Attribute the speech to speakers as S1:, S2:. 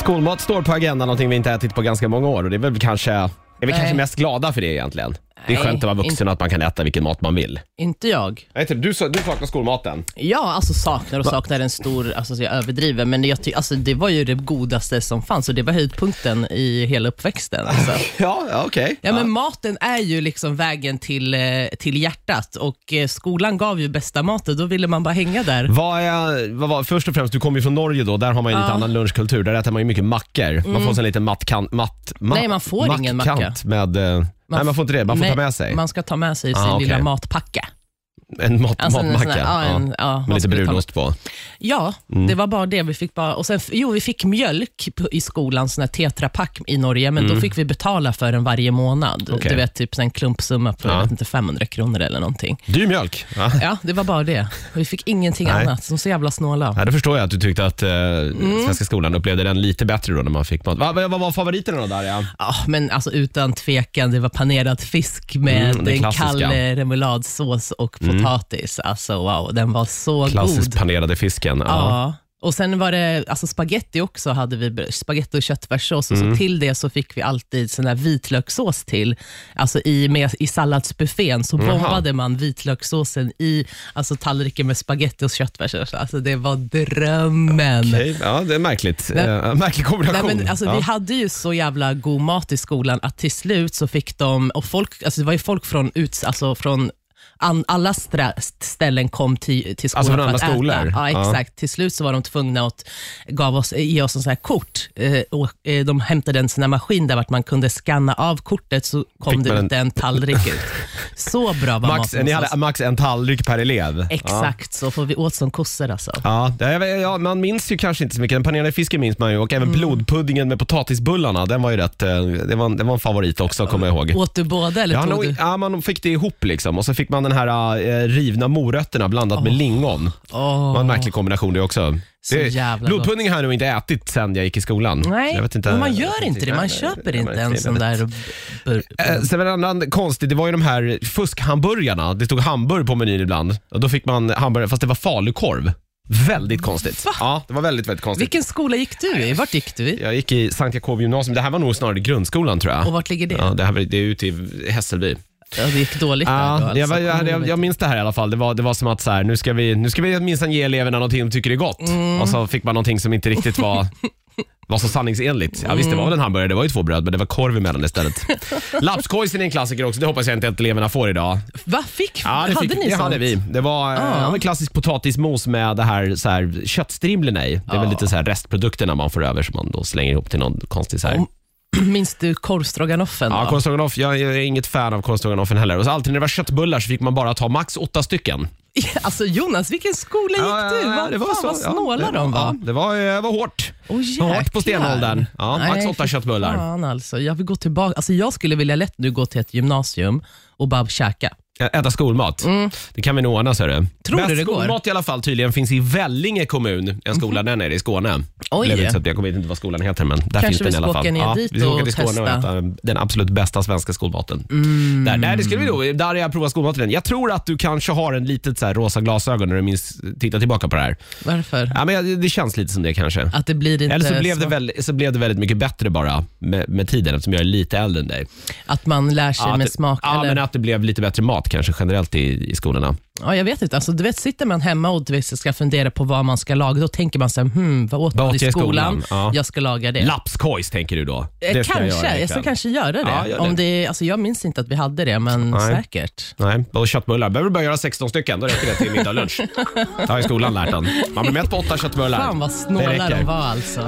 S1: Skolmat står på agendan, någonting vi inte ätit på ganska många år och det är väl kanske, är vi
S2: Nej.
S1: kanske mest glada för det egentligen. Det är
S2: Nej,
S1: skönt att vara vuxen
S2: inte-
S1: att man kan äta vilken mat man vill.
S2: Inte jag.
S1: Nej, typ, du, sa- du saknar skolmaten.
S2: Ja, alltså saknar och saknar en stor, alltså så jag överdriver, men jag ty- alltså, det var ju det godaste som fanns och det var höjdpunkten i hela uppväxten. Alltså.
S1: Ja, ja, okej.
S2: Ja, men maten är ju liksom vägen till, eh, till hjärtat och eh, skolan gav ju bästa maten, då ville man bara hänga där.
S1: Vad är, vad var, först och främst, du kommer ju från Norge då, där har man ju lite annan lunchkultur. Där äter man ju mycket mackor. Man får sig en liten mattkan, matt, matt,
S2: Mm. Nej, man får ingen macka.
S1: mackkant Med, eh, nej, man får inte det. Man får ta med sig
S2: Man ska ta med sig sin
S1: Ah, okej.
S2: lilla matpacka.
S1: en mat,
S2: Alltså en sån
S1: matmacka.
S2: här- ja, en- ja, man
S1: med lite
S2: skulle ta med-
S1: brunost på.
S2: Ja,
S1: Mm.
S2: det var bara det. Vi fick bara, och sen, jo, vi fick mjölk på- i skolan, sån här tetrapack i Norge, men då fick vi betala för den varje månad.
S1: Mm. Okej.
S2: Du vet, typ en klumpsumma på
S1: Ja.
S2: jag vet inte, 500 kronor eller någonting.
S1: Dyr mjölk. Ja.
S2: Ja, det var bara det. Och Vi fick ingenting
S1: Nej.
S2: annat. De är så jävla snåla.
S1: Ja, då förstår jag att du tyckte att eh,
S2: Mm.
S1: svenska skolan upplevde den lite bättre då när man fick mat. Va, va, vad var favoriterna då Darja?
S2: Ja, men alltså utan tvekan, det var panerad fisk med
S1: Mm, den
S2: en
S1: klassiska. Mm.
S2: kall eh, remouladsås och potatis. Alltså wow, den var så
S1: Klassiskt
S2: god.
S1: panerade fisken. Ja.
S2: Ja. Och sen var det alltså spaghetti också, hade vi spaghetti och köttfärssås. Och
S1: Mm.
S2: så till det så fick vi alltid sån där vitlökssås till. Alltså i, med, i salladsbuffén så bombade man vitlökssåsen i alltså tallriken med spaghetti och köttfärssås. Alltså det var drömmen.
S1: Okej, ja, det är märkligt.
S2: Nej.
S1: Eh, märklig
S2: Nej,
S1: kombination.
S2: men, alltså,
S1: ja.
S2: Vi hade ju så jävla god mat i skolan att till slut så fick de, och folk, alltså, det var ju folk från, ut, alltså, från an, alla stra- ställen kom till, till skolan
S1: Alltså, från
S2: för
S1: andra
S2: att
S1: skolor?
S2: äta. Ja,
S1: Ja.
S2: exakt. Till slut så var de tvungna att gav oss, ge oss en sån här kort. Eh, och, eh, de hämtade en sån här maskin där vart man kunde scanna av kortet så kom
S1: Fick
S2: det
S1: man
S2: ut en tallrik ut. Så bra var
S1: Max,
S2: maten
S1: ni
S2: hos
S1: hade
S2: oss.
S1: max en tallrik per elev. Ja.
S2: Exakt så, får vi åt som kossor alltså.
S1: Ja, det- jag vet- ja, man minns ju kanske inte så mycket. Den panerade fisken minns man ju och
S2: Mm.
S1: även blodpuddingen med potatisbullarna. Den var ju rätt, eh, det var en, det var en favorit också kommer jag ihåg.
S2: Åt du båda eller
S1: Ja,
S2: tog
S1: nog,
S2: du?
S1: ja, man fick det ihop liksom och så fick man den här eh, rivna morötterna blandat med lingon. Det var en märklig kombination det också.
S2: Så jävla gott.
S1: blodpuddingen har jag nog inte ätit sen jag gick i skolan.
S2: Nej,
S1: jag vet inte,
S2: men man
S1: jag
S2: gör
S1: vet
S2: inte det. Man
S1: Nej,
S2: köper
S1: nej,
S2: inte
S1: nej,
S2: en
S1: nej,
S2: sån
S1: nej.
S2: där... Bur,
S1: Eh, Sen var det en annan konstig, det var ju de här fuskhamburgarna. Det stod hamburg på menyn ibland. Och då fick man hamburgare, fast det var falukorv. Väldigt konstigt.
S2: Va?
S1: Ja, det var väldigt, väldigt konstigt.
S2: vilken skola gick du i? Vart gick du i?
S1: Jag gick i Sankt Jakob gymnasium. Det här var nog snarare grundskolan tror jag.
S2: Och vart ligger det?
S1: Ja, det, här, var- det är ute i Hässelby.
S2: Ja, det gick dåligt där då,
S1: Ja,
S2: alltså.
S1: jag, var- jag,
S2: Kommer
S1: jag, jag
S2: inte.
S1: minns det här i alla fall. Det var, det var som att så här, nu ska vi, nu ska vi minsann ge eleverna någonting de tycker är gott.
S2: Mm.
S1: Och så fick man någonting som inte riktigt var, var så sanningsenligt. Ja, visst, det var väl en hamburgare, det var ju två bröd, men det var korv emellan istället. Lapskojsen är en klassiker också, det hoppas jag inte att eleverna får idag.
S2: Va, fick,
S1: Ja, det
S2: Hade
S1: fick,
S2: ni
S1: det
S2: sånt?
S1: hade vi. Det var, ah. det var klassisk potatismos med det här, så här köttstrimlorna i. Det är väl lite så här restprodukterna man får över som man då slänger ihop till någon konstig så här.
S2: Om- Minns du korvstroganoffen?
S1: Ja,
S2: då?
S1: korvstroganoff. Jag är inget fan av korvstroganoffen heller. Och så alltid när det var köttbullar så fick man bara ta max åtta stycken.
S2: alltså Jonas, vilken skola
S1: Ja,
S2: gick du?
S1: ja,
S2: Va,
S1: ja, det var
S2: fan
S1: så.
S2: vad
S1: Ja,
S2: snåla
S1: det-
S2: de
S1: Ja,
S2: var.
S1: det var, eh, var hårt.
S2: Åh,
S1: Hårt på
S2: jäklar.
S1: stenåldern. Ja, max
S2: Nej,
S1: åtta
S2: fy
S1: köttbullar.
S2: Fan, alltså. Jag vill gå tillbaka. Alltså, jag skulle vilja lätt nu gå till ett gymnasium och bara käka.
S1: Ä- Äta skolmat. Det kan vi nog ordna. Så är det.
S2: Mm. Tror du
S1: Bäst
S2: det går? Mhm.
S1: skolmat i alla fall tydligen finns i Vellinge kommun, en skola där nere i Skåne.
S2: Oj.
S1: Eller, jag vet inte, jag kommer inte vad skolan heter, men där
S2: Kanske
S1: finns
S2: vi
S1: den i alla
S2: ska
S1: fall.
S2: åka ner dit
S1: vi ska åka
S2: och
S1: till Skåne och
S2: testa. Mm.
S1: äta den absolut bästa svenska skolmaten. Där, där, det skulle vi nog, där har jag provat skolmaten. än. Jag tror att du kanske har en litet så här rosa glasögon när du minns, tittar tillbaka på det här.
S2: Varför?
S1: Ja, men jag- det känns lite som det kanske.
S2: Att det blir inte
S1: Eller så blev, det
S2: smak-
S1: väl, så blev det väldigt mycket bättre bara med, med tiden eftersom jag är lite äldre än dig.
S2: att man lär sig
S1: att,
S2: med
S1: det-
S2: smak?
S1: ja
S2: eller?
S1: men att det blev lite bättre mat kanske generellt i, i skolorna.
S2: Ja, jag vet inte. Alltså, du vet, sitter man hemma och du vet, ska fundera på vad man ska laga, då tänker man så här, hmm, vad åt
S1: Vad
S2: man i
S1: åt jag i
S2: skolan?
S1: skolan? Ja.
S2: Jag ska laga det.
S1: Lapskojs tänker du då?
S2: Eh,
S1: Det ska jag
S2: kanske,
S1: göra
S2: jag,
S1: ikväll.
S2: ska kanske göra det.
S1: Ja, gör det.
S2: Om det alltså, jag minns inte att vi hade det, men
S1: Nej.
S2: säkert.
S1: Nej, och köttbullar. behöver du bara göra 16 stycken, då räcker det till middag och lunch. Det har ju skolan lärt en. Man blir mätt på åtta köttbullar.
S2: Fan vad
S1: Det
S2: snåla
S1: räcker.
S2: de var alltså.